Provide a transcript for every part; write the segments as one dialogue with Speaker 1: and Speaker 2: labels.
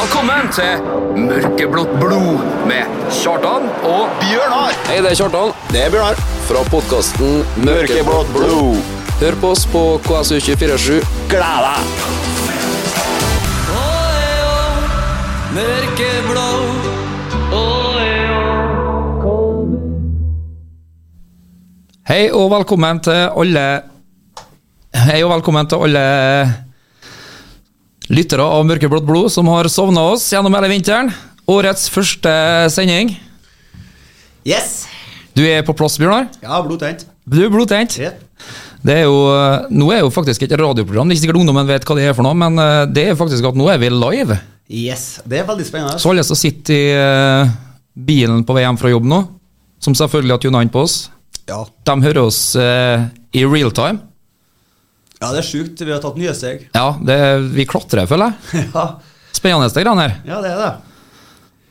Speaker 1: Velkommen til Mørkeblått blod med Kjartan og
Speaker 2: Bjørnar
Speaker 3: Hei, det er Kjartan
Speaker 2: Det er Bjørnar
Speaker 3: fra podkasten
Speaker 2: Mørkeblått blod
Speaker 3: Hør på oss på KSU247.
Speaker 2: Gled deg
Speaker 1: E Hei og velkommen til alle Hei og velkommen til alle lyttere av Mørkeblått blod som har sovna oss gjennom hele vinteren. Årets første sending.
Speaker 4: Yes!
Speaker 1: Du er på plass, Bjørnar.
Speaker 4: Ja, blodtent.
Speaker 1: Du er blodtent.
Speaker 4: Rett.
Speaker 1: Det er jo, eh, nå er jo faktisk et radioprogram. Det er ikke sikkert ungdommen vet hva det er for noe, men eh, det er faktisk at nå er vi live.
Speaker 4: Yes, det er veldig spennende.
Speaker 1: Så alle som sitter i eh, bilen på vei hjem fra jobb nå, som selvfølgelig har tuna inn på oss,
Speaker 4: Ja.
Speaker 1: de hører oss eh, i real time.
Speaker 4: ja, det er sjukt. Vi har tatt nye steg.
Speaker 1: Ja, det, vi klatrer, føler jeg.
Speaker 4: ja.
Speaker 1: Spennende det greiene her.
Speaker 4: ja, det er det.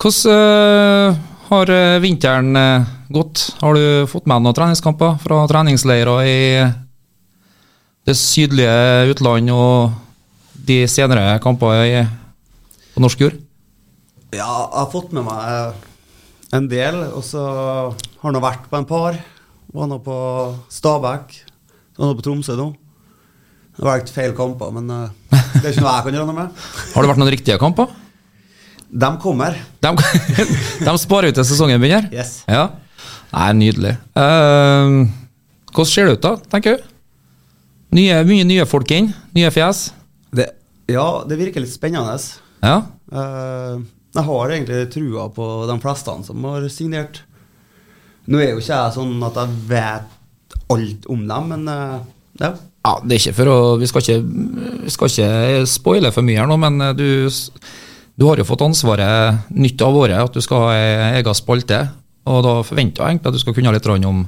Speaker 1: Hvordan eh, har eh, vinteren eh, gått? Har du fått med deg noen treningskamper fra treningsleirer i det sydlige utland og de senere kampene i, på norsk jord?
Speaker 4: Ja, jeg har fått med meg eh, en del, og så har jeg nå vært på en par. Var nå på Stabæk. Var nå på Tromsø nå. Det har vært feil kamper, men eh, det er ikke noe jeg kan gjøre noe med.
Speaker 1: Har det vært noen riktige kamper?
Speaker 4: De kommer.
Speaker 1: De, de sparer ut til sesongen begynner?
Speaker 4: Yes.
Speaker 1: Ja. Nei, nydelig. Ehm, hvordan ser det ut, da, tenker du? Nye, mye nye folk inn? Nye fjes?
Speaker 4: Det, ja, det virker litt spennende.
Speaker 1: Ja.
Speaker 4: Eh, jeg har egentlig trua på de fleste som har signert. Nå er jo ikke jeg sånn at jeg vet alt om dem, men eh, ja.
Speaker 1: ja det er ikke for å, vi skal ikke, vi skal ikke spoile for mye her nå, men eh, du, s- du har jo fått ansvaret nytt av året, at du skal ha ei egen spalte. Og da forventer jeg egentlig at du skal kunne litt grann om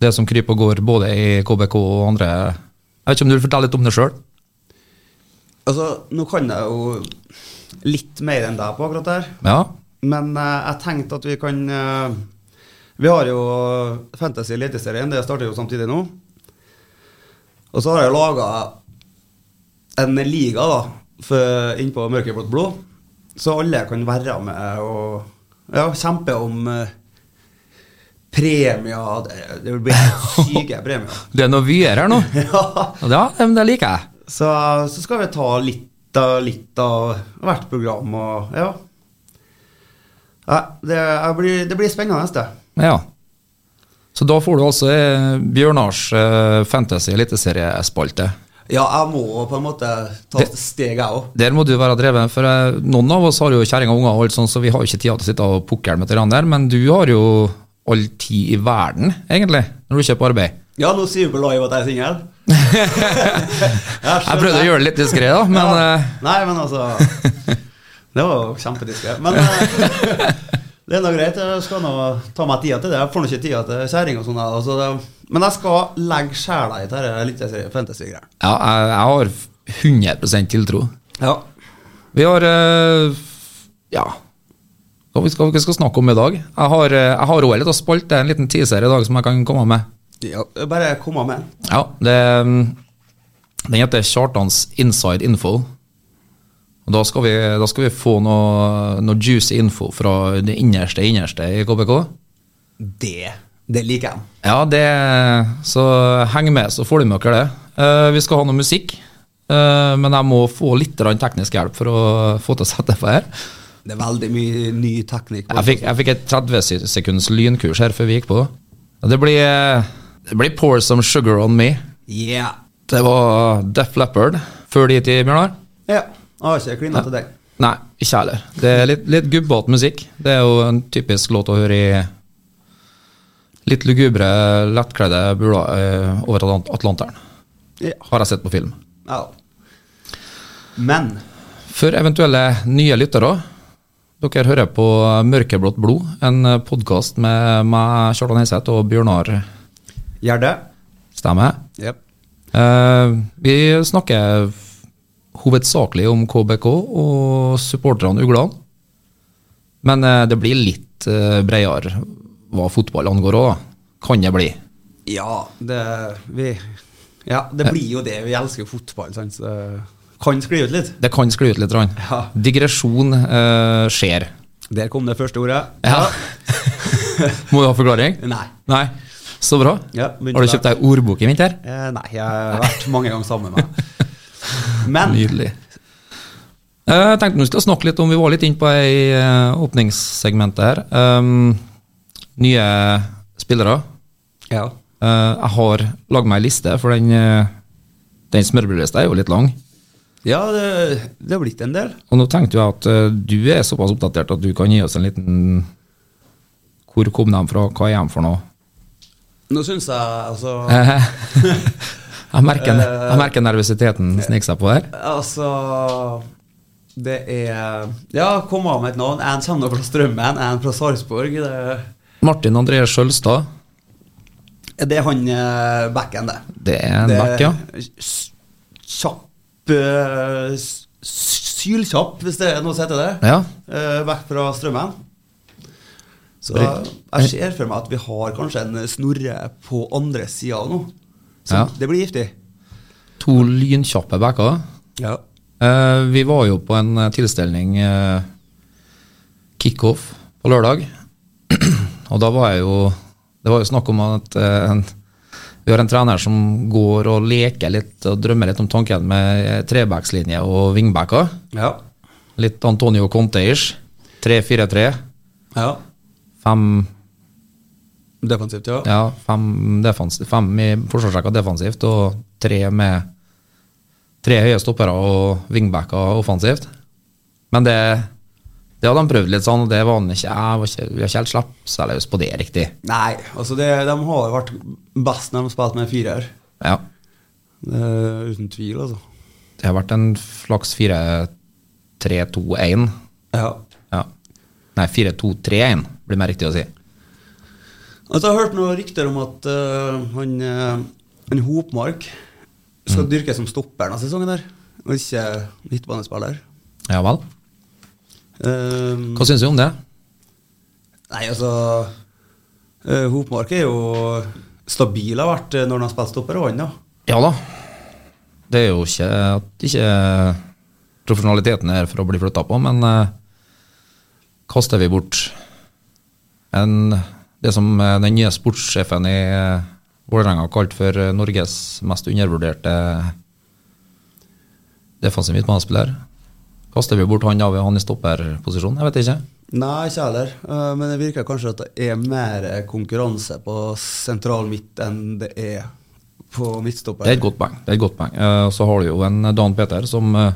Speaker 1: det som kryper og går både i KBK og andre Jeg vet ikke om du vil fortelle litt om det sjøl?
Speaker 4: Altså, nå kan jeg jo litt mer enn deg på akkurat der,
Speaker 1: Ja.
Speaker 4: men eh, jeg tenkte at vi kan eh, Vi har jo Fantasy Eliteserien, det starter jo samtidig nå. Og så har jeg laga en liga da, for, innpå mørkeblått blod, så alle kan være med og ja, kjempe om eh, premier. Det- Det blir helt syke premier.
Speaker 1: Det er noe vyer her nå.
Speaker 4: Ja.
Speaker 1: Ja, men det liker jeg.
Speaker 4: Så, så skal vi ta litt av, litt av hvert program og ja. Nei, det, jeg blir, det blir spennende, det.
Speaker 1: Ja. Så da får du altså eh, Bjørnars eh, Fantasy eliteseriespalte.
Speaker 4: Ja, jeg må på en måte ta
Speaker 1: Det-
Speaker 4: et steg, jeg òg.
Speaker 1: Der må du være dreven, for eh, noen av oss har jo kjerring og unger, og alt sånt, så vi har jo ikke tid til å sitte og pukke med hverandre der, men du har jo all tid i verden, egentlig, når du ikke er på arbeid.
Speaker 4: Ja, nå sier vi på live at jeg er singel.
Speaker 1: Jeg prøvde å gjøre det litt diskré, da, men eh,
Speaker 4: Nei, men altså Det var jo kjempediskré. Men eh, det er nå greit. Jeg skal nå ta meg tida til det. Jeg får nå ikke tida til kjerring og sånn. jeg, Altså, det- men jeg skal legge sjela i dette litt fantasy-greiene.
Speaker 1: ja, jeg, jeg har 100 tiltro.
Speaker 4: Ja.
Speaker 1: Vi har eh, Ja. Hva vi skal vi skal snakke om i dag? Jeg har eh, jeg har også en liten spalte, en liten teaser i dag, som jeg kan komme med.
Speaker 4: ja. Bare komme med.
Speaker 1: Ja, det, mm, den heter Kjartans Inside Info. Og da skal vi, da skal vi få noe, noe juicy info fra det innerste innerste i KBK.
Speaker 4: Det. Det liker jeg.
Speaker 1: Ja, det, så heng med, så får du med dere det. Eh, vi skal ha noe musikk, eh, men jeg må få litt grann teknisk hjelp for å få til å sette det på her.
Speaker 4: Det er veldig mye ny teknikk. på
Speaker 1: Jeg fikk, jeg fikk et 30 se- sekunds lynkurs her før vi gikk på. Det blir, det blir Pour Some Sugar On Me.
Speaker 4: Yeah.
Speaker 1: Det var Def Leppard før de gikk i Bjørnar.
Speaker 4: Ja. Jeg har ikke klina til deg.
Speaker 1: Nei, ikke heller. Det er litt, litt gubbete musikk. Det er jo en typisk låt å høre i litt lugubre, lettkledde bula eh, over Atlant- Atlanteren,
Speaker 4: Ja.
Speaker 1: har jeg sett på film.
Speaker 4: ja. Men
Speaker 1: For eventuelle nye lyttere, dere hører på Mørkeblått blod, en podkast med meg, Kjartan Heiseth, og Bjørnar
Speaker 4: gjør det.
Speaker 1: Stemme.
Speaker 4: Yep.
Speaker 1: Eh, vi snakker f- hovedsakelig om KBK og supporterne Uglene. Men eh, det blir litt eh, bredere hva fotball angår òg, da. Kan det bli.
Speaker 4: Ja, det vi Ja, det blir jo det. Vi elsker jo fotball, sant. Så kan skli ut litt.
Speaker 1: Det kan skli ut litt. grann.
Speaker 4: Ja.
Speaker 1: Digresjon eh, skjer.
Speaker 4: Der kom det første ordet.
Speaker 1: Ja. Må du ha forklaring?
Speaker 4: Nei.
Speaker 1: Nei. Så bra.
Speaker 4: Ja, begynte
Speaker 1: Har du kjøpt deg ordbok i vinter?
Speaker 4: Eh, nei, jeg har vært mange ganger sammen med meg. Men
Speaker 1: Nydelig. Eh, Jeg tenkte vi skulle snakke litt om Vi var litt inne på ei eh, åpningssegmentet her. Um, nye spillere.
Speaker 4: ja.
Speaker 1: Eh, Jeg har lagd meg ei liste, for den, eh, den smørbrødlista er jo litt lang.
Speaker 4: ja, det, det har blitt en del.
Speaker 1: Og nå tenkte jeg at eh, du er såpass oppdatert at du kan gi oss en liten Hvor kom de fra, hva er de for noe?
Speaker 4: Nå syns jeg altså
Speaker 1: Eh, Jeg merker, jeg merker nervøsiteten snike seg på her.
Speaker 4: Altså Det er Ja, kom av med et navn. En kommer fra Strømmen, en fra Sarpsborg. Det,
Speaker 1: Martin André Skjølstad.
Speaker 4: det er han eh, backen, det.
Speaker 1: Det er en
Speaker 4: Det-
Speaker 1: back, ja.
Speaker 4: s- Kjapp eh, s- Sylkjapp, hvis det er noe som heter det.
Speaker 1: Ja.
Speaker 4: Eh, Back fra Strømmen. Så
Speaker 1: Bra.
Speaker 4: jeg ser for meg at vi har kanskje en Snorre på andre sida nå. Så
Speaker 1: Ja.
Speaker 4: det blir giftig.
Speaker 1: To lynkjappe backer.
Speaker 4: Ja.
Speaker 1: Eh, Vi var jo på en eh, tilstelning eh, kickoff på lørdag. Og da var jeg jo Det var jo snakk om at eh, en, vi har en trener som går og leker litt og drømmer litt om tanken med eh, trebackslinje og wingbacker.
Speaker 4: Ja.
Speaker 1: Litt Antonio Conte-ish. 3-4-3.
Speaker 4: ja.
Speaker 1: Fem,
Speaker 4: Defensivt, ja.
Speaker 1: ja, fem, defens- fem i forsvarsrekka defensivt og tre med tre høye stoppere og wingbacker offensivt. Men det, det hadde han prøvd litt sånn, og det var han ikke Jeg var ikke, vi har ikke helt slapp seg løs på det riktig.
Speaker 4: Nei, altså det, de har vært best når de har spilt med en firer.
Speaker 1: Ja.
Speaker 4: Eh, uten tvil, altså.
Speaker 1: Det har vært en slags 4-3-2-1.
Speaker 4: Ja.
Speaker 1: Ja. Nei, 4-2-3-1 blir mer riktig å si.
Speaker 4: Altså, jeg har hørt noen rykter om at eh, han eh, en Hopmark skal dyrke som stopper denne sesongen der, og ikke midtbanespiller.
Speaker 1: Ja vel.
Speaker 4: Eh,
Speaker 1: Hva syns du om det?
Speaker 4: nei, altså eh, Hopmark er jo stabil har vært eh, når han har spilt stopper, og han, da.
Speaker 1: Ja da. Det er jo ikke at ikke profesjonaliteten er for å bli flytta på, men eh, kaster vi bort en, det som eh, den nye sportssjefen i eh, Vålerenga har kalt for eh, Norges mest undervurderte defensiv midtbanespiller? Kaster vi bort han av han i stopperposisjon? Jeg vet ikke.
Speaker 4: Nei, ikke heller. Eh, men det virker kanskje at det er mer eh, konkurranse på sentral midt enn det er på midtstopper.
Speaker 1: Det er et godt poeng. Det er et godt poeng. Eh, Så har du jo en Dan Peter som eh,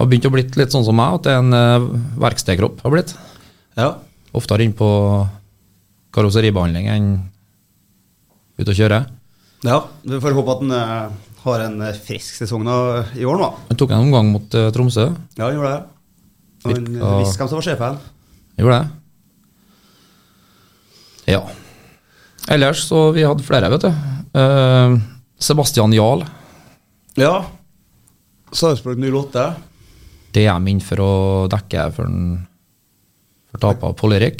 Speaker 1: har begynt å blitt litt sånn som meg, at det er en eh, verkstedkropp har blitt.
Speaker 4: Ja.
Speaker 1: Oftere inn på karosseribehandling enn ute å kjøre.
Speaker 4: Ja, vi får håpe at han eh, har en eh, frisk sesong nå, i år, nå.
Speaker 1: Han tok en omgang mot eh, Tromsø.
Speaker 4: Ja, han gjorde det. Og eh, han
Speaker 1: Virka-
Speaker 4: visste hvem som var sjefen.
Speaker 1: Gjorde det. Ja. Ellers så vi hadde flere, vet du. Eh, Sebastian Jarl.
Speaker 4: Ja. Sarpsborg 08.
Speaker 1: Det er min for å dekke for, den- for tapet av Pål Erik.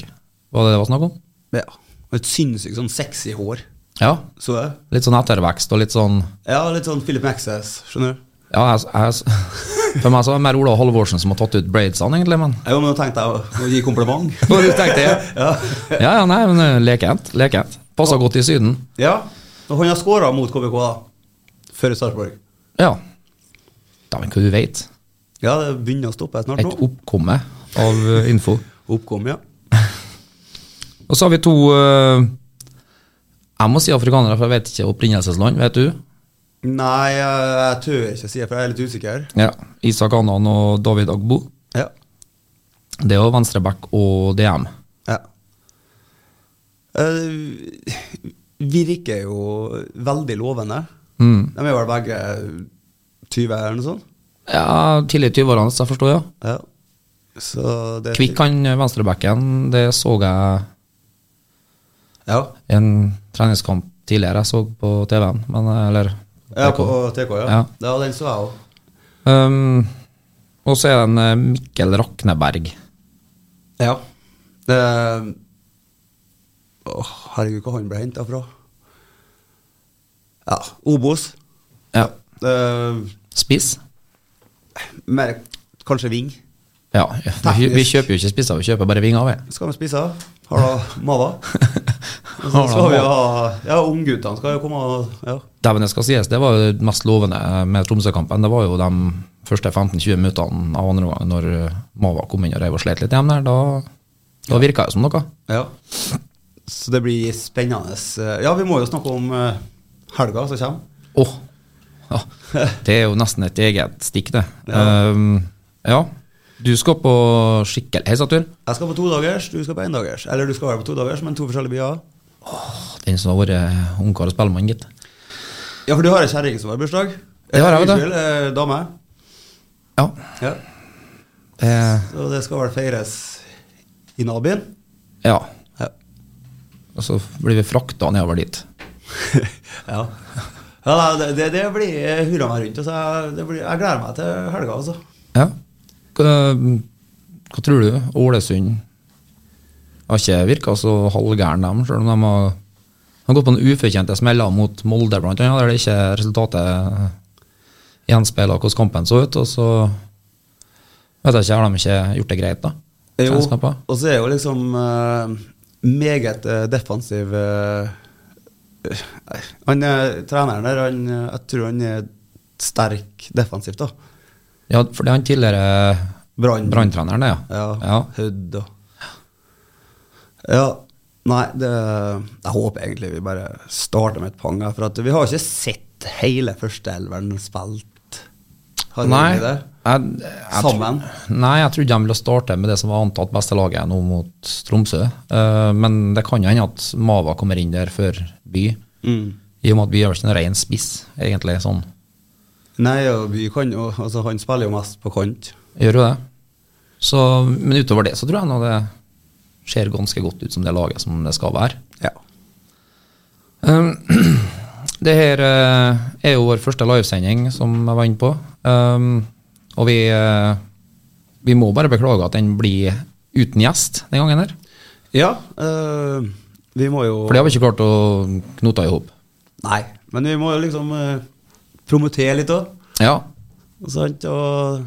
Speaker 1: Var det det var snakk om?
Speaker 4: Ja. Og Et sinnssykt sånn sexy hår.
Speaker 1: Ja.
Speaker 4: Så det?
Speaker 1: Litt sånn ettervekst og litt sånn
Speaker 4: Ja, litt sånn Philip Maxes, skjønner du.
Speaker 1: Ja, jeg, jeg, for meg så er det mer Ola Halvorsen som har tatt ut braidsene, egentlig, men
Speaker 4: Jo, men nå tenkte jeg å gi kompliment.
Speaker 1: Hva du tenkte jeg?
Speaker 4: ja.
Speaker 1: Ja, ja, nei, men eh, lekent. Lekent. Passa godt i Syden.
Speaker 4: ja. Og han har skåra mot KBK, da. Før Sarpsborg.
Speaker 1: Ja. Dæven, hva du veit.
Speaker 4: Ja, det begynner å stoppe snart
Speaker 1: Et
Speaker 4: nå.
Speaker 1: oppkomme av eh, info.
Speaker 4: Oppkom, ja.
Speaker 1: Og så har vi to eh, Jeg må si afrikanere, for jeg vet ikke opprinnelsesland. Vet du?
Speaker 4: Nei, jeg, jeg tør ikke si det, for jeg er litt usikker.
Speaker 1: Ja. Isak Anan og David Agbo.
Speaker 4: Ja.
Speaker 1: Det er jo venstreback og DM.
Speaker 4: Ja. Eh, virker jo veldig lovende.
Speaker 1: Mm.
Speaker 4: De er vel begge 20 eller noe sånt.
Speaker 1: Ja, tidlig i 20-årene, så jeg forstår, ja.
Speaker 4: Ja. Så det
Speaker 1: Kvikk han eh, venstrebacken, det så jeg
Speaker 4: Ja.
Speaker 1: en treningskamp tidligere jeg så på TV-en. Men, eh, eller
Speaker 4: ja
Speaker 1: TK.
Speaker 4: på TK, ja.
Speaker 1: Ja.
Speaker 4: Ja, den så jeg òg.
Speaker 1: um, Og så er det en eh, Mikkel Rakneberg.
Speaker 4: Ja. Det Åh, herregud, hvor han ble henta fra. Ja, Obos.
Speaker 1: Ja.
Speaker 4: Eh,
Speaker 1: Spiss.
Speaker 4: Mer kanskje ving.
Speaker 1: Ja, vi, vi kjøper jo ikke spisser, vi kjøper bare vinger. vi.
Speaker 4: Skal vi spise? Har da Mava. Og Så skal vi ha Ja, ungguttene skal jo komme og ja.
Speaker 1: Dæven, det skal sies, det var jo det mest lovende med Tromsø-kampen. Det var jo de første 15-20 minuttene av andre omgang når eh, Mava kom inn og reiv og slet litt hjem der. Da, da virka det som noe.
Speaker 4: ja. Så det blir spennende. Ja, vi må jo snakke om eh, helga som kommer.
Speaker 1: Åh, ja. Det er jo nesten et eget stikk, det.
Speaker 4: Ja.
Speaker 1: Ehm, ja. Du skal på skikkelig heisatur.
Speaker 4: Jeg skal på todagers, du skal på endagers. Eller du skal være på todagers, men to forskjellige byer.
Speaker 1: Den som har vært eh, ungkar og spellemann, gitt.
Speaker 4: Ja, for du har ei kjerring som har bursdag.
Speaker 1: Det har jeg, vet du.
Speaker 4: Unnskyld, eh, dame.
Speaker 1: Ja.
Speaker 4: Ja.
Speaker 1: Eh,
Speaker 4: Så det skal vel feires i nabyen.
Speaker 1: ja.
Speaker 4: Ja.
Speaker 1: Og så blir vi frakta nedover dit.
Speaker 4: ja. ja nei, det, det, det blir hurra meg rundt. Altså. Jeg- Det blir, jeg gleder meg til helga, altså.
Speaker 1: Ja. Hva, hva tror du? Ålesund har ikke virka så halvgæren, dem, selv om de har, har gått på en ufortjente smeller mot Molde, blant annet, der det ikke resultatet gjenspeiler hvordan kampen så ut. Og så vet jeg ikke, har de ikke gjort det greit, da?
Speaker 4: Jo,
Speaker 1: Selskapet?
Speaker 4: og så er jo liksom eh, meget eh, defensiv eh, eh, Han eh, treneren der, han, eh, jeg tror han er sterk defensivt, da.
Speaker 1: Ja, for det er han tidligere
Speaker 4: Brann.
Speaker 1: branntreneren, ja.
Speaker 4: Ja.
Speaker 1: ja.
Speaker 4: Hødd og Ja. Nei, det Jeg håper egentlig vi bare starter med et pang. her, For at vi har ikke sett hele førsteelveren spilt. Har vi
Speaker 1: Nei,
Speaker 4: det?
Speaker 1: jeg- jeg tror-
Speaker 4: Sammen?
Speaker 1: Nei, jeg trodde de ville starte med det som var antatt beste laget nå mot Tromsø. Eh, men det kan jo hende at Mava kommer inn der før By.
Speaker 4: Mm.
Speaker 1: I og med at By er jo ikke en ren spiss, egentlig. sånn.
Speaker 4: Nei, og vi kan jo Altså, han spiller jo mest på kant.
Speaker 1: Gjør jo det. Så, men utover det så tror jeg nå det ser ganske godt ut som det laget som det skal være.
Speaker 4: Ja.
Speaker 1: Um, det her eh, er jo vår første livesending som jeg var inne på. Um, og vi, eh, vi må bare beklage at den blir uten gjest den gangen her.
Speaker 4: Ja, øh, vi må jo
Speaker 1: For det har vi ikke klart å knote i hop.
Speaker 4: Nei, men vi må jo liksom øh, promotere litt òg.
Speaker 1: Ja.
Speaker 4: Sant? Og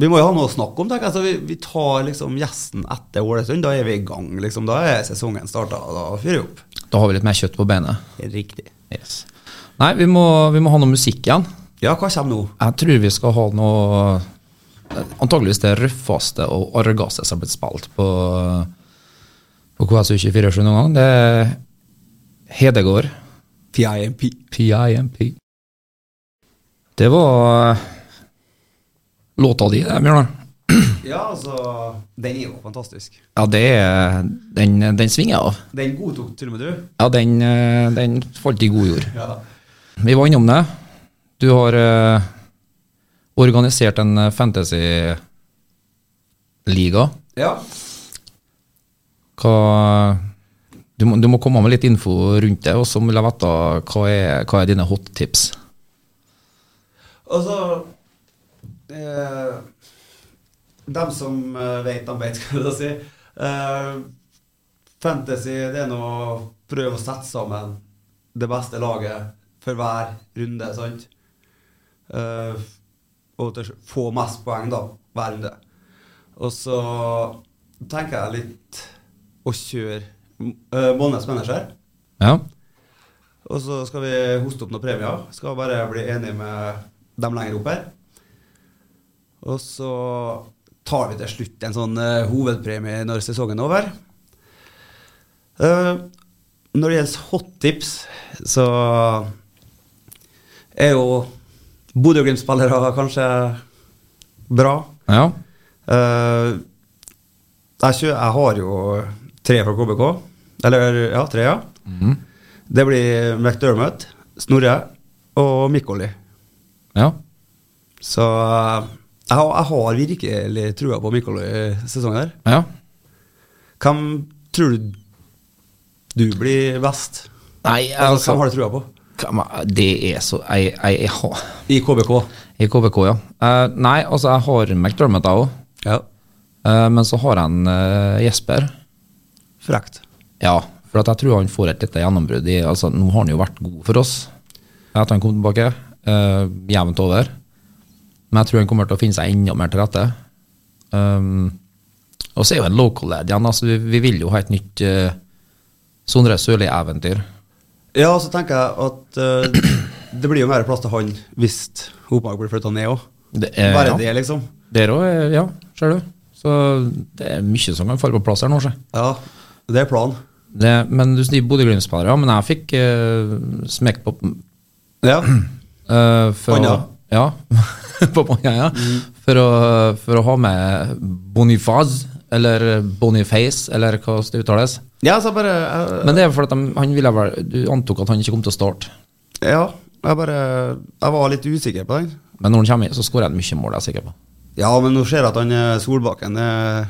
Speaker 4: vi må jo ha noe å snakke om. tenker jeg. Altså, vi, vi tar liksom gjesten etter Ålesund. Da er vi i gang. liksom. Da er sesongen starta, og da fyrer vi opp.
Speaker 1: Da har vi litt mer kjøtt på beinet.
Speaker 4: Riktig.
Speaker 1: Yes. Nei, vi må, vi må ha noe musikk igjen.
Speaker 4: Ja, hva kommer nå?
Speaker 1: Jeg tror vi skal ha noe eh, Antageligvis det røffeste og argeste som har blitt spilt på, eh, på KSU247 noen gang. Det er Hedegård.
Speaker 4: PIMP.
Speaker 1: PIMP. Det var eh, låta di, det, Bjørnar.
Speaker 4: Ja, altså Den er jo fantastisk.
Speaker 1: Ja, det er Den, den svinger jeg av.
Speaker 4: Den godtok til og med du.
Speaker 1: Ja, den, eh, den falt i god jord.
Speaker 4: Ja.
Speaker 1: Vi var innom det. Du har eh, organisert en eh, fantasy-liga.
Speaker 4: ja.
Speaker 1: Hva du må, du må komme med litt info rundt det, og så vil jeg vite eh, hva er, hva er dine hot tips.
Speaker 4: Og så eh, Dem som eh, vet, de vet, skal jeg si. Eh, fantasy, det er nå å prøve å sette sammen det beste laget for hver runde, sant? Eh, og til slutt få mest poeng, da, hver runde. Og så tenker jeg litt å kjøre uh, månedens manager.
Speaker 1: Ja,
Speaker 4: Og så skal vi hoste opp noen premier. Skal bare bli enige med dem lenger opp her. Og så tar vi til slutt en sånn eh, hovedpremie når sesongen er over. Eh, når det gjelder hottips, så er jo Bodø-Glimt-spillere kanskje bra.
Speaker 1: ja,
Speaker 4: Eh, jeg, kjø, jeg har jo tre fra KBK. Eller ja, tre, ja.
Speaker 1: Mm.
Speaker 4: Det blir McDermott, Snorre og Mikkoli.
Speaker 1: ja.
Speaker 4: Så eh, jeg, har- jeg har virkelig trua på Mikkoli i sesongen her.
Speaker 1: ja.
Speaker 4: Hvem tror du du blir best?
Speaker 1: Nei,
Speaker 4: Altså,
Speaker 1: altså
Speaker 4: hvem har du trua på?
Speaker 1: hva- Det er så Jeg, jeg, jeg har
Speaker 4: I KBK.
Speaker 1: I KBK, ja. Eh, nei, altså jeg har McDermott, jeg òg.
Speaker 4: Ja.
Speaker 1: men så har jeg en eh, Jesper.
Speaker 4: Frekt.
Speaker 1: Ja, for at jeg tror han får et lite gjennombrudd. i- Altså, nå har han jo vært god for oss etter han kom tilbake. eh, jevnt over. Men jeg tror han kommer til å finne seg enda mer til rette. Um, og så er jo en local lad igjen. Altså, vi, vi vil jo ha et nytt eh, Sondre Sørli-eventyr.
Speaker 4: Ja, og så tenker jeg at eh, det blir jo mer plass til han hvis Hopmark blir flytta ned òg.
Speaker 1: Det er-
Speaker 4: Bare
Speaker 1: Eh, ja.
Speaker 4: det, liksom.
Speaker 1: Der òg, ja. Ser du. Så det er mye som kan falle på plass her nå. Se.
Speaker 4: Ja, det er planen.
Speaker 1: Det, men du sier Bodø-Glimt-spillere, ja. Men jeg fikk eh, smekk på
Speaker 4: Ja.
Speaker 1: eh, for
Speaker 4: Panna.
Speaker 1: Å, ja. på panna, ja. For, å, for å ha med Bonifaz, eller Boniface, eller hva det uttales.
Speaker 4: ja, så bare eh, jeg-
Speaker 1: Men det er fordi han ville vel Du antok at han ikke kom til å starte.
Speaker 4: Ja, jeg bare Jeg var litt usikker på den.
Speaker 1: Men når han kommer inn, så skårer han mye mål, jeg er sikker på.
Speaker 4: Ja, men nå ser jeg at han eh, Solbakken er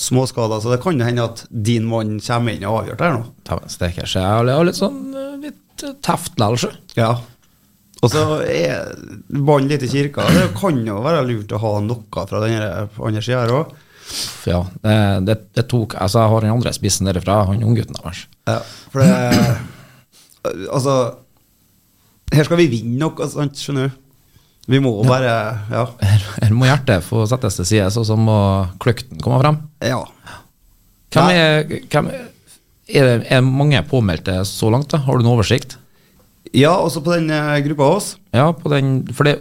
Speaker 4: småskada, så det kan jo hende at din mann kommer inn og avgjør det her nå.
Speaker 1: Dæven steike, så jeg er litt sånn eh, litt teft likevel, sjø.
Speaker 4: Ja. Og så er vann litt i kirka. Det kan jo være lurt å ha noe fra den her- andre sida her òg.
Speaker 1: Uff, Ja, det, det, det tok Altså, jeg har den andre spissen derifra, han unggutten deres.
Speaker 4: Ja, for det Altså Her skal vi vinne noe, sant? Skjønner du? Vi må bare Ja.
Speaker 1: Her, her må hjertet få settes til side, så, så må kløkten komme frem.
Speaker 4: ja.
Speaker 1: Hvem er, hvem er, er det er mange påmeldte så langt? da? Har du noen oversikt?
Speaker 4: Ja, også på den eh, gruppa oss.
Speaker 1: Ja, på den, for det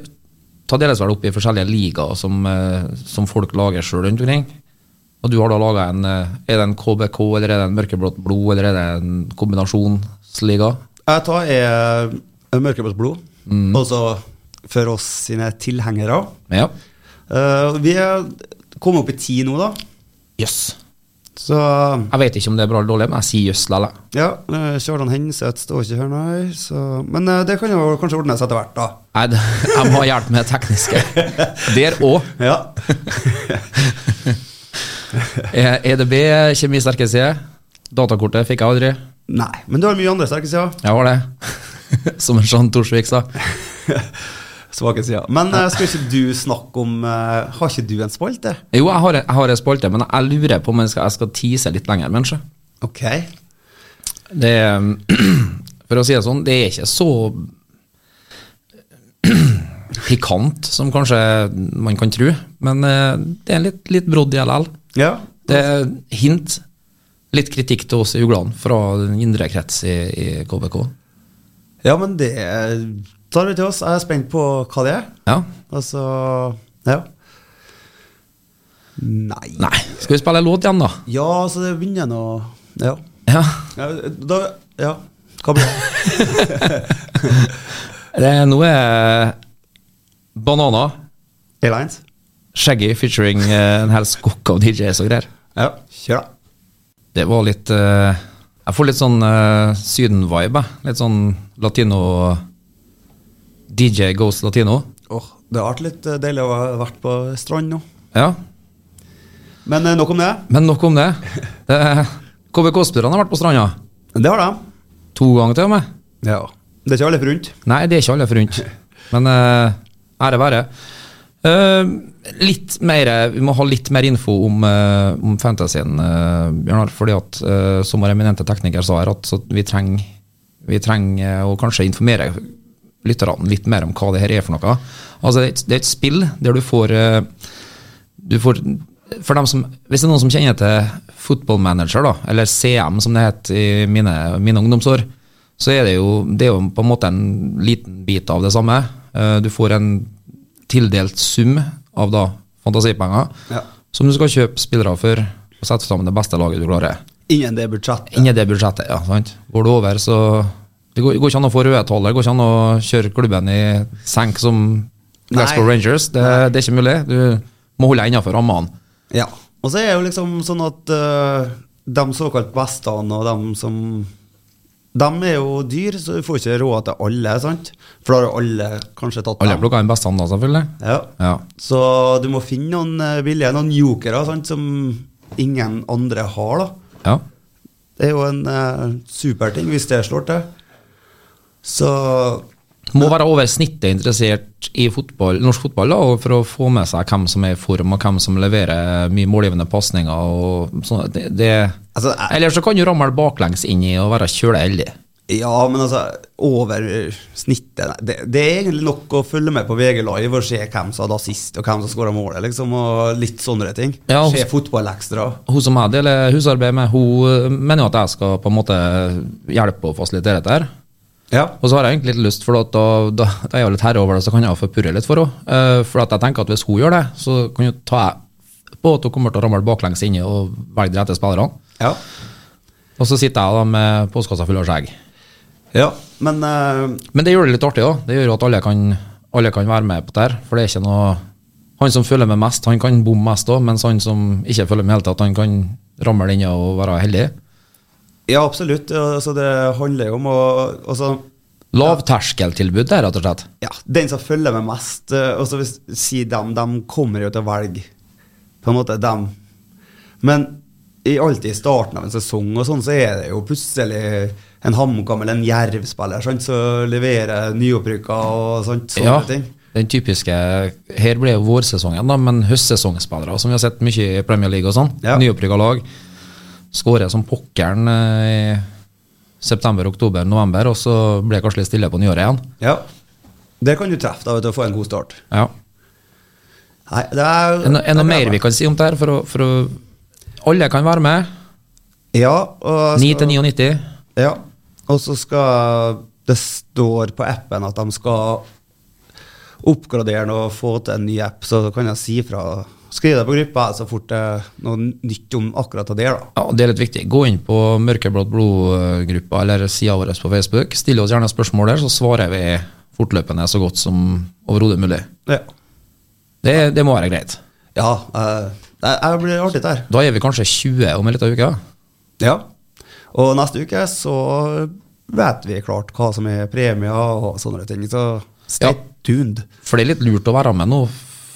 Speaker 1: tar deles vel opp i forskjellige ligaer som, eh, som folk lager sjøl rundt omkring. Og du har da laga en eh, Er det en KBK, eller er det en mørkeblått blod, eller er det en kombinasjonsliga?
Speaker 4: Jeg tar er mørkeblått blod, altså for oss sine tilhengere.
Speaker 1: Ja.
Speaker 4: Eh, vi er kommet opp i ti nå, da.
Speaker 1: Jøss.
Speaker 4: Så
Speaker 1: Jeg vet ikke om det er bra eller dårlig, men jeg sier jøss likevel.
Speaker 4: ja, eh, Kjartan Henseth står ikke her, nei. Så, men eh, det kan jo kanskje ordnes etter hvert, da.
Speaker 1: Nei, det- jeg må ha hjelp med det tekniske. Der òg.
Speaker 4: Ja.
Speaker 1: EDB, E kjemi sterke side. Datakortet fikk jeg aldri.
Speaker 4: Nei, men du har mye andre sterke sider.
Speaker 1: Jeg har det. Som en Jean Torsvik sa.
Speaker 4: Svake sider. Men eh, skal ikke du snakke om eh, Har ikke du en spalte?
Speaker 1: Jo, jeg har, jeg har en spalte, men jeg lurer på om jeg skal, jeg skal tease litt lenger. Men sjø.
Speaker 4: Ok.
Speaker 1: det For å si det sånn, det er ikke så pikant som kanskje man kan tro. Men eh, det er litt, litt brodd i LL.
Speaker 4: Ja.
Speaker 1: Det er hint. Litt kritikk til oss i uglene fra den indre krets i, i KBK.
Speaker 4: ja, men det tar du til oss. Jeg er spent på hva det er.
Speaker 1: Ja.
Speaker 4: Altså Ja. Nei.
Speaker 1: Nei, skal vi spille låt igjen, da?
Speaker 4: Ja, så det begynner nå Ja.
Speaker 1: Ja.
Speaker 4: Ja, da, ja. Hva blir det?
Speaker 1: Det, nå er Banana,
Speaker 4: Airlines?
Speaker 1: Shaggy featuring eh, en hel skokk av DJs og greier.
Speaker 4: Ja. Kjør, da.
Speaker 1: Det var litt eh, Jeg får litt sånn eh, Syden-vibe. jeg. Litt sånn latino DJ goes latino.
Speaker 4: Åh, det har vært litt eh, deilig å ha vært på strand nå.
Speaker 1: Ja,
Speaker 4: Men eh, nok om det.
Speaker 1: men nok om det. det KBK-spillerne har vært på stranda.
Speaker 4: Det har de.
Speaker 1: To ganger til og med.
Speaker 4: Ja. Det er ikke alle forunt.
Speaker 1: Nei, det er ikke alle forunt. Men eh, ære være. Eh, litt mer, Vi må ha litt mer info om, eh, om fantasyen, eh, Bjørnar. fordi at eh, som vår eminente tekniker sa her, at så vi trenger vi trenger eh, å kanskje informere lytterne litt mer om hva det her er for noe. Altså, Det er et, det er et spill der du får eh, du får for dem som, Hvis det er noen som kjenner til Football Manager, da, eller CM som det het i mine, mine ungdomsår, så er det jo det er jo på en måte en liten bit av det samme. Eh, Du får en tildelt sum av da fantasipenger
Speaker 4: Ja.
Speaker 1: som du skal kjøpe spillere for og sette sammen det beste laget du klarer.
Speaker 4: Innen det budsjettet.
Speaker 1: Inni det budsjettet, ja. sant? Går du over, så Det går, går ikke an å få røde tall. Det går ikke an å kjøre klubben i senk som Glasgow
Speaker 4: Nei.
Speaker 1: Rangers. Det, det er ikke mulig. Du må holde deg innafor rammene.
Speaker 4: Ja. Og så er det jo liksom sånn at eh, de såkalt bestene og de som De er jo dyr, så du får ikke råd til alle, sant? For da har jo alle kanskje tatt
Speaker 1: Alle
Speaker 4: dem.
Speaker 1: plukker den beste, da, selvfølgelig.
Speaker 4: Ja.
Speaker 1: Ja.
Speaker 4: Så du må finne noen eh, billige, noen jokere sant, som ingen andre har. da.
Speaker 1: ja.
Speaker 4: Det er jo en eh, super ting hvis det slår til. Så
Speaker 1: Må være over snittet interessert i fotball, norsk fotball da, og for å få med seg hvem som er i form, og hvem som leverer mye målgivende pasninger. og sånn. Det, det,
Speaker 4: altså, jeg,
Speaker 1: Eller så kan du ramle baklengs inn i og være kjølig heldig.
Speaker 4: Ja, men altså, over snittet nei, det, det er egentlig nok å følge med på VG Live og se hvem som hadde assist, og hvem som skåra målet, liksom, og litt sånne ting.
Speaker 1: Ja, og-
Speaker 4: se fotball ekstra.
Speaker 1: Hun som jeg deler husarbeid med, hun mener jo at jeg skal på en måte hjelpe og fasilitere dette her.
Speaker 4: Ja.
Speaker 1: Og så har jeg egentlig litt lyst, for at da, da, da er jeg jo litt herre over det, så kan jeg jo forpurre litt for henne. Eh, for at jeg tenker at hvis hun gjør det, så kan jo ta jeg på at hun kommer til å ramle baklengs inni og velge de rette spillerne.
Speaker 4: ja.
Speaker 1: Og så sitter jeg da med postkassa full av skjegg.
Speaker 4: Ja, men eh,
Speaker 1: Men det gjør det litt artig òg. Det gjør jo at alle kan, alle kan være med på det her. For det er ikke noe Han som følger med mest, han kan bomme mest òg, mens han som ikke følger med i det hele tatt, han kan ramle inn og være heldig.
Speaker 4: Ja, absolutt. Altså, det handler jo om å altså,
Speaker 1: Lavterskeltilbud, det er rett og slett.
Speaker 4: ja, Den som følger med mest eh, altså, hvis, Si dem, de kommer jo til å velge på en måte dem. Men i, alltid i starten av en sesong og sånn, så er det jo plutselig en HamKam eller en Jerv-spiller sant, som leverer nyopprykka og sånt. Sånne
Speaker 1: Ja,
Speaker 4: ting.
Speaker 1: den typiske Her ble jo vårsesongen, da, men høstsesongspillere som vi har sett mye i Premier League og sånn.
Speaker 4: Ja.
Speaker 1: Nyopprykka lag. Skårer som pokkeren eh, i september, oktober, november, og så ble kanskje litt stille på nyåret igjen.
Speaker 4: Ja. Det kan du treffe da, vet du, og få en god start.
Speaker 1: Ja.
Speaker 4: Nei, det er,
Speaker 1: Er det noe- er det
Speaker 4: det
Speaker 1: noe mer vi kan si om det her? For å, for å Alle kan være med.
Speaker 4: Ja, og
Speaker 1: 9 til 99.
Speaker 4: Ja, og så skal Det står på appen at de skal oppgradere den og få til en ny app, så da kan jeg si fra. Skriv det på gruppa så fort det er noe nytt om akkurat det der, da.
Speaker 1: Ja, og det er litt viktig. Gå inn på Mørkeblått blod-gruppa eller sida vår på Facebook. Still oss gjerne spørsmål der, så svarer vi fortløpende så godt som overhodet mulig.
Speaker 4: Ja,
Speaker 1: Det, det må være greit.
Speaker 4: ja eh, det det blir artig, det her.
Speaker 1: Da er vi kanskje 20 om en liten uke.
Speaker 4: Ja. Og neste uke så vet vi klart hva som er premier og sånne ting, så stay
Speaker 1: Ja.
Speaker 4: tuned.
Speaker 1: For det er litt lurt å være med nå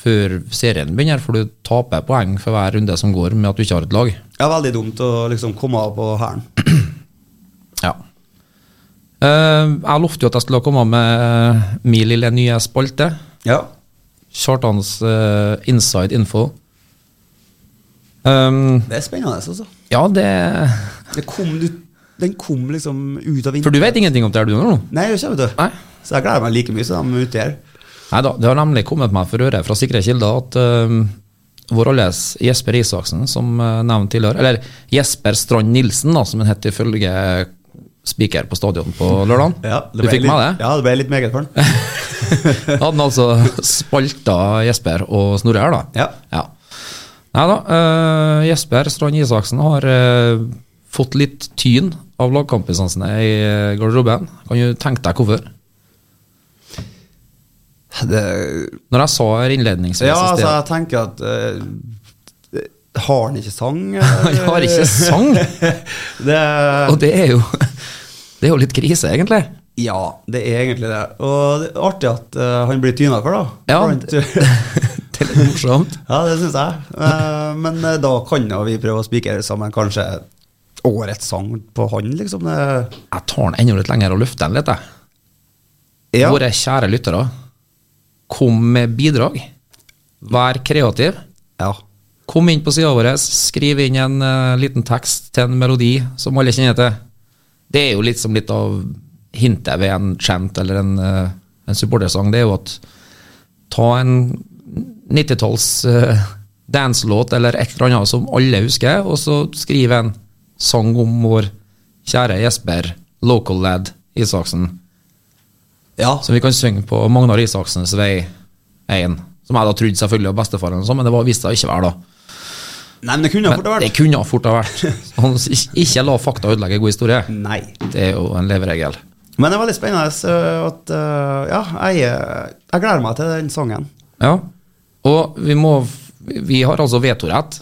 Speaker 1: før serien begynner, for du taper poeng for hver runde som går med at du ikke har et lag.
Speaker 4: Det er veldig dumt å liksom komme av på hælen.
Speaker 1: Ja. Eh, jeg lovte jo at jeg skulle komme med eh, min lille nye spalte.
Speaker 4: Ja.
Speaker 1: Kjartans eh, inside info. Ehm,
Speaker 4: Det er spennende, altså.
Speaker 1: ja, det
Speaker 4: Det kom, du- den kom liksom ut av
Speaker 1: For du vet ingenting om det her du gjør nå?
Speaker 4: Nei, jeg gjør ikke det, vet du.
Speaker 1: Nei.
Speaker 4: Så jeg gleder meg like mye som de er ute her.
Speaker 1: Nei da, det har nemlig kommet meg for øre fra sikre kilder at eh, vår alles Jesper Isaksen, som eh, nevnt tidligere, eller Jesper Strand Nilsen, da, som han het ifølge spiker på stadion på lørdag. du
Speaker 4: ble
Speaker 1: fikk
Speaker 4: litt,
Speaker 1: med det?
Speaker 4: Ja, det ble litt meget for den.
Speaker 1: Da hadde han altså spalta Jesper og Snorre her, da.
Speaker 4: Ja.
Speaker 1: Nei da, eh, Jesper Strand Isaksen har eh, fått litt tyn av lagkompisene sine i eh, garderoben. Kan du tenke deg hvorfor?
Speaker 4: Det,
Speaker 1: Når jeg sa her innledningsvis
Speaker 4: ja,
Speaker 1: i
Speaker 4: altså,
Speaker 1: sted
Speaker 4: jeg tenker at eh, Har han ikke sang?
Speaker 1: Han har ikke sang!
Speaker 4: det,
Speaker 1: Og det er jo Det er jo litt krise, egentlig.
Speaker 4: ja, det er egentlig det. Og det er artig at eh, han blir tyna for, da.
Speaker 1: Ja,
Speaker 4: Blant-
Speaker 1: det, det er litt morsomt.
Speaker 4: ja, det syns jeg. Eh, men eh, da kan jo vi prøve å spikre sammen kanskje årets sang på han, liksom. Det,
Speaker 1: Jeg tar den enda litt lenger og løfter den litt. Jeg.
Speaker 4: ja.
Speaker 1: Våre kjære lyttere, kom med bidrag. Vær kreativ.
Speaker 4: ja.
Speaker 1: Kom inn på sida vår, skriv inn en eh, liten tekst til en melodi som alle kjenner til. Det er jo liksom litt av hintet ved en chant eller en, eh, en supportersang. Det er jo at ta en 90-talls uh, danselåt eller et eller annet som alle husker, og så skriv en sang om vår kjære Jesper, local lad Isaksen,
Speaker 4: ja.
Speaker 1: som vi kan synge på Magnar Isaksens vei 1. Som jeg da trodde selvfølgelig var bestefaren, og sånn, men det var- viste seg å ikke være da.
Speaker 4: Nei, men det kunne fort ha
Speaker 1: Men det
Speaker 4: vært.
Speaker 1: kunne ha fort ha vært. Han s- ikk- ikke la fakta ødelegge god historie.
Speaker 4: Nei.
Speaker 1: Det er jo en leveregel.
Speaker 4: Men det er veldig spennende så at eh, Ja, jeg, eh, jeg gleder meg til den sangen.
Speaker 1: Ja. Og vi må Vi har altså vetorett.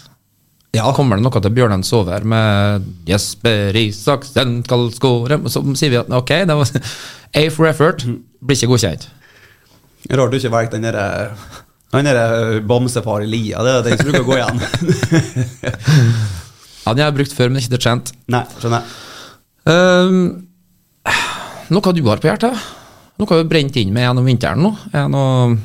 Speaker 1: Ja. Kommer det noe til Bjørnen Sover med 'Jesper Isaksen skal score', så sier vi at ok, det var A for effort. Blir ikke godkjent.
Speaker 4: Rart du ikke valgte den derre han derre bamsefar i lia, det er den som bruker å gå igjen.
Speaker 1: Ja, den har jeg brukt før, men ikke til kjent.
Speaker 4: Nei, skjønner jeg.
Speaker 1: Um, noe du har på hjertet? Noe har du brent inn med gjennom vinteren nå? Er det noe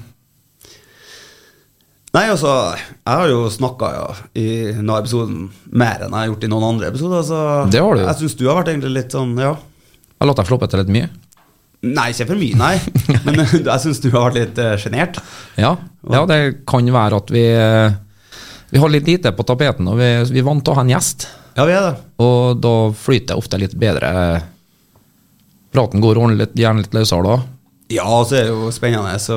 Speaker 4: Nei, altså, jeg har jo snakka ja, i denne episoden mer enn jeg har gjort i noen andre episoder, så
Speaker 1: Det har du jo.
Speaker 4: jeg syns du har vært egentlig litt sånn, ja,
Speaker 1: Jeg lot deg floppe til litt mye.
Speaker 4: Nei, ikke for mye, nei. Men eh, jeg syns du har vært litt eh, sjenert.
Speaker 1: Ja, ja, det kan være at vi, vi har litt lite på tapeten, og vi, vi er vant til å ha en gjest.
Speaker 4: ja, vi er det.
Speaker 1: Og da flyter det ofte litt bedre. Praten går ordentlig, gjerne litt løsere da.
Speaker 4: Ja, og så er det jo spennende, så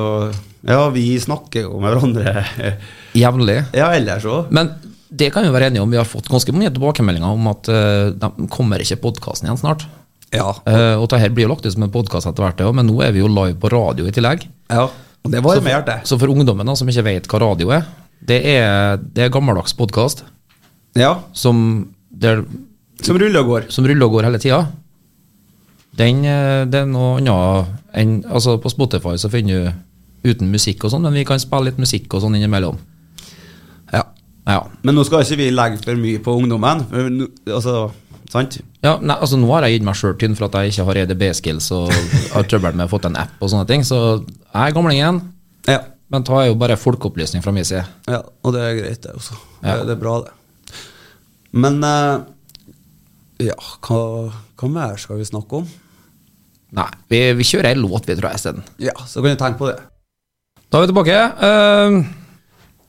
Speaker 4: Ja, vi snakker jo med hverandre. eh,
Speaker 1: Jevnlig.
Speaker 4: Ja, ellers òg.
Speaker 1: Men det kan vi være enige om. Vi har fått ganske mange tilbakemeldinger om at eh, de kommer ikke podkasten igjen snart.
Speaker 4: Ja.
Speaker 1: Eh, og det her blir jo lagt ut som en podkast etter hvert, det også, men nå er vi jo live på radio i tillegg.
Speaker 4: ja. Og det
Speaker 1: Så
Speaker 4: varmer
Speaker 1: for,
Speaker 4: hjertet.
Speaker 1: så for ungdommen da, som ikke vet hva radio er, det er, det er gammeldags podkast
Speaker 4: Ja.
Speaker 1: som, der-
Speaker 4: Som ruller og går.
Speaker 1: som ruller og går hele tida, den eh, det er noe annet enn Altså, på Spotify så finner du uten musikk og sånn, men vi kan spille litt musikk og sånn innimellom.
Speaker 4: Ja.
Speaker 1: Ja.
Speaker 4: Men nå skal ikke vi legge for mye på ungdommen. for nå- Altså, sant?
Speaker 1: ja nei, altså Nå har jeg gitt meg sjøl tynn for at jeg ikke har E EDB-skills og har trøbbel med å få til en app og sånne ting, så jeg er gamlingen.
Speaker 4: Ja.
Speaker 1: Men ta er jo bare folkeopplysning fra min side.
Speaker 4: ja. Og det er greit, det også.
Speaker 1: Ja.
Speaker 4: Det, det er bra, det. Men eh, Ja, hva, hva mer skal vi snakke om?
Speaker 1: Nei, vi, vi kjører ei låt, vi, tror jeg, isteden.
Speaker 4: Ja, så kan vi tenke på det.
Speaker 1: Da er vi tilbake. Uh,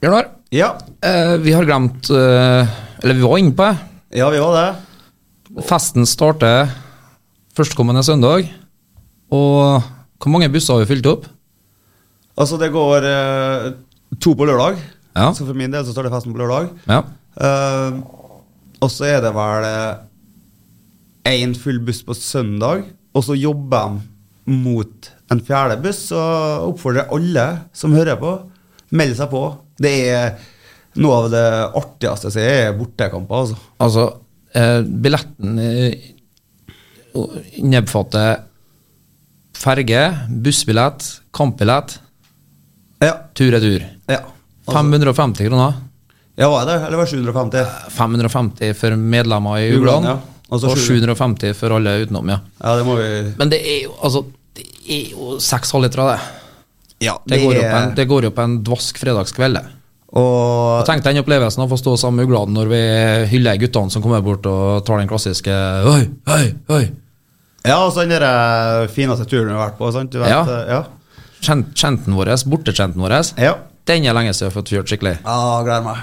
Speaker 1: Bjørnar,
Speaker 4: Ja.
Speaker 1: eh, vi har glemt eh, Eller vi var inne på det.
Speaker 4: Ja, vi var det.
Speaker 1: Festen starter førstkommende søndag. Og hvor mange busser har vi fylt opp?
Speaker 4: Altså, det går eh, to på lørdag.
Speaker 1: Ja.
Speaker 4: Så for min del så starter festen på lørdag.
Speaker 1: Ja.
Speaker 4: Eh, og så er det vel én full buss på søndag, og så jobber de mot en fjerde buss. Så oppfordrer jeg alle som hører på, meld seg på. Det er noe av det artigste jeg ser, er bortekamper, altså.
Speaker 1: Altså, eh, billetten eh, innbefatter ferge, bussbillett, kampbillett,
Speaker 4: Ja.
Speaker 1: tur-retur.
Speaker 4: ja. Altså,
Speaker 1: 550 kroner.
Speaker 4: ja, var det det? Eller var det 750?
Speaker 1: 550 for medlemmer i
Speaker 4: Ugland,
Speaker 1: Ugland,
Speaker 4: ja. Altså Og
Speaker 1: og
Speaker 4: så 700.
Speaker 1: 750 for alle utenom, ja.
Speaker 4: Ja, det må vi
Speaker 1: Men det er jo, altså, det er jo seks halvlitere, det.
Speaker 4: Ja,
Speaker 1: Det går jo på en,
Speaker 4: er-
Speaker 1: det går jo på en dvask fredagskveld, det. Og
Speaker 4: Og
Speaker 1: Tenk den opplevelsen av å stå sammen med Ugladen når vi hyller guttene som kommer bort og tar den klassiske Oi, oi, oi.
Speaker 4: Ja, og så den der eh, fineste turen vi har vært på. Sant? Du vet,
Speaker 1: Ja.
Speaker 4: eh, ja.
Speaker 1: Kjent, kjenten vår, bortekjenten vår.
Speaker 4: Ja.
Speaker 1: Den er lenge siden jeg har fått kjørt skikkelig.
Speaker 4: ja, gleder meg.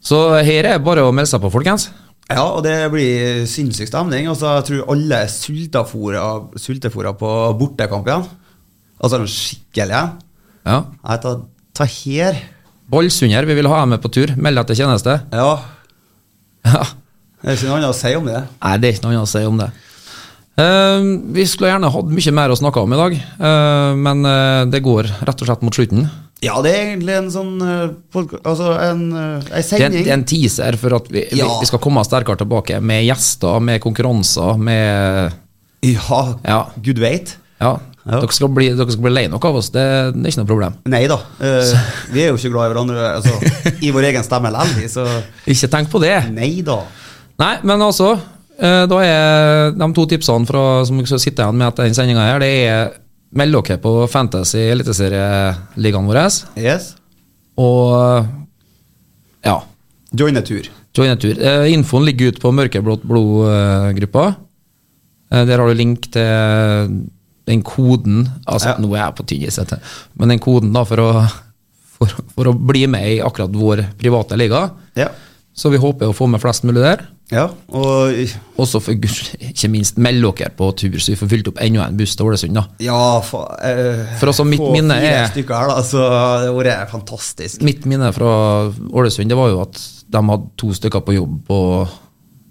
Speaker 1: Så her er bare å melde seg på, folkens.
Speaker 4: Ja, og det blir sinnssyk stemning. Og så tror jeg alle er sultefora, sultefora på bortekamp igjen. Altså en skikkelig en.
Speaker 1: Ja.
Speaker 4: Nei, ta, ta her.
Speaker 1: Bollsunder, vi vil ha deg med på tur. Meld deg til tjeneste.
Speaker 4: Ja.
Speaker 1: Ja.
Speaker 4: Det er ikke noe annet å si om det.
Speaker 1: Nei, det er ikke noe annet å si om det. Eh, vi skulle gjerne hatt mye mer å snakke om i dag, eh, men eh, det går rett og slett mot slutten.
Speaker 4: Ja, det er egentlig en sånn eh, podka- Altså en,
Speaker 1: Det er,
Speaker 4: eh, ei
Speaker 1: en,
Speaker 4: sending.
Speaker 1: det er en teaser for at vi, vi,
Speaker 4: Ja.
Speaker 1: vi skal komme sterkere tilbake med gjester, med konkurranser, med
Speaker 4: Ja,
Speaker 1: Ja.
Speaker 4: gud veit.
Speaker 1: Ja,
Speaker 4: Ja.
Speaker 1: Dere, skal bli, dere skal bli lei nok av oss, det, det er ikke noe problem.
Speaker 4: Nei da. eh, vi er jo ikke glad i hverandre altså, i vår egen stemme likevel, så
Speaker 1: Ikke tenk på det.
Speaker 4: nei da.
Speaker 1: Nei, men altså, eh, da er de to tipsene fra, som dere skal sitte igjen med etter den sendinga her, det er meld dere på Fantasy Eliteserieligaen vår,
Speaker 4: Yes.
Speaker 1: og ja,
Speaker 4: Join a tur.
Speaker 1: join en tur. Eh, Infoen ligger ute på Mørkeblått blod-gruppa. Eh, Der har du link til den koden altså
Speaker 4: Ja.
Speaker 1: Nå er jeg på tynn is, vet du. men den koden da for å, for, for å bli med i akkurat vår private liga.
Speaker 4: Ja.
Speaker 1: Så vi håper å få med flest mulig der.
Speaker 4: Ja, og
Speaker 1: Også for guds skyld, ikke minst meld dere på tur, så vi får fylt opp enda en buss til Ålesund. da.
Speaker 4: Ja, fa, eh,
Speaker 1: For altså, mitt
Speaker 4: få
Speaker 1: minne
Speaker 4: fire
Speaker 1: er-
Speaker 4: stykker her, da, så det har vært fantastisk.
Speaker 1: Mitt minne fra Ålesund det var jo at de hadde to stykker på jobb på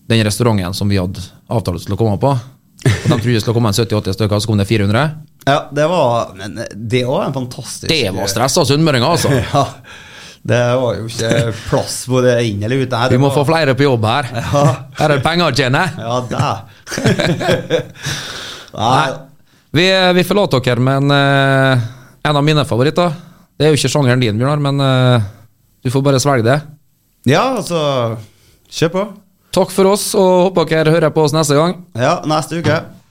Speaker 1: den restauranten som vi hadde avtale til å komme på. Og de trodde det skulle komme en 70-80 stykker, så kom det 400.
Speaker 4: Ja, det var Men eh, det var en fantastisk
Speaker 1: Det var stress av sunnmøringer, altså!
Speaker 4: Ja. Det var jo ikke plass både inn eller ut. Nei,
Speaker 1: Vi
Speaker 4: det
Speaker 1: må
Speaker 4: var-
Speaker 1: få flere på jobb her.
Speaker 4: Ja.
Speaker 1: Her er det penger å tjene.
Speaker 4: Ja, det. Nei.
Speaker 1: Vi, vi forlater dere med en, eh, en av mine favoritter. Det er jo ikke sjangeren din, Bjørnar, men eh, du får bare svelge det.
Speaker 4: Ja, altså Kjør på.
Speaker 1: Takk for oss, og håper dere hører på oss neste gang.
Speaker 4: Ja, neste uke.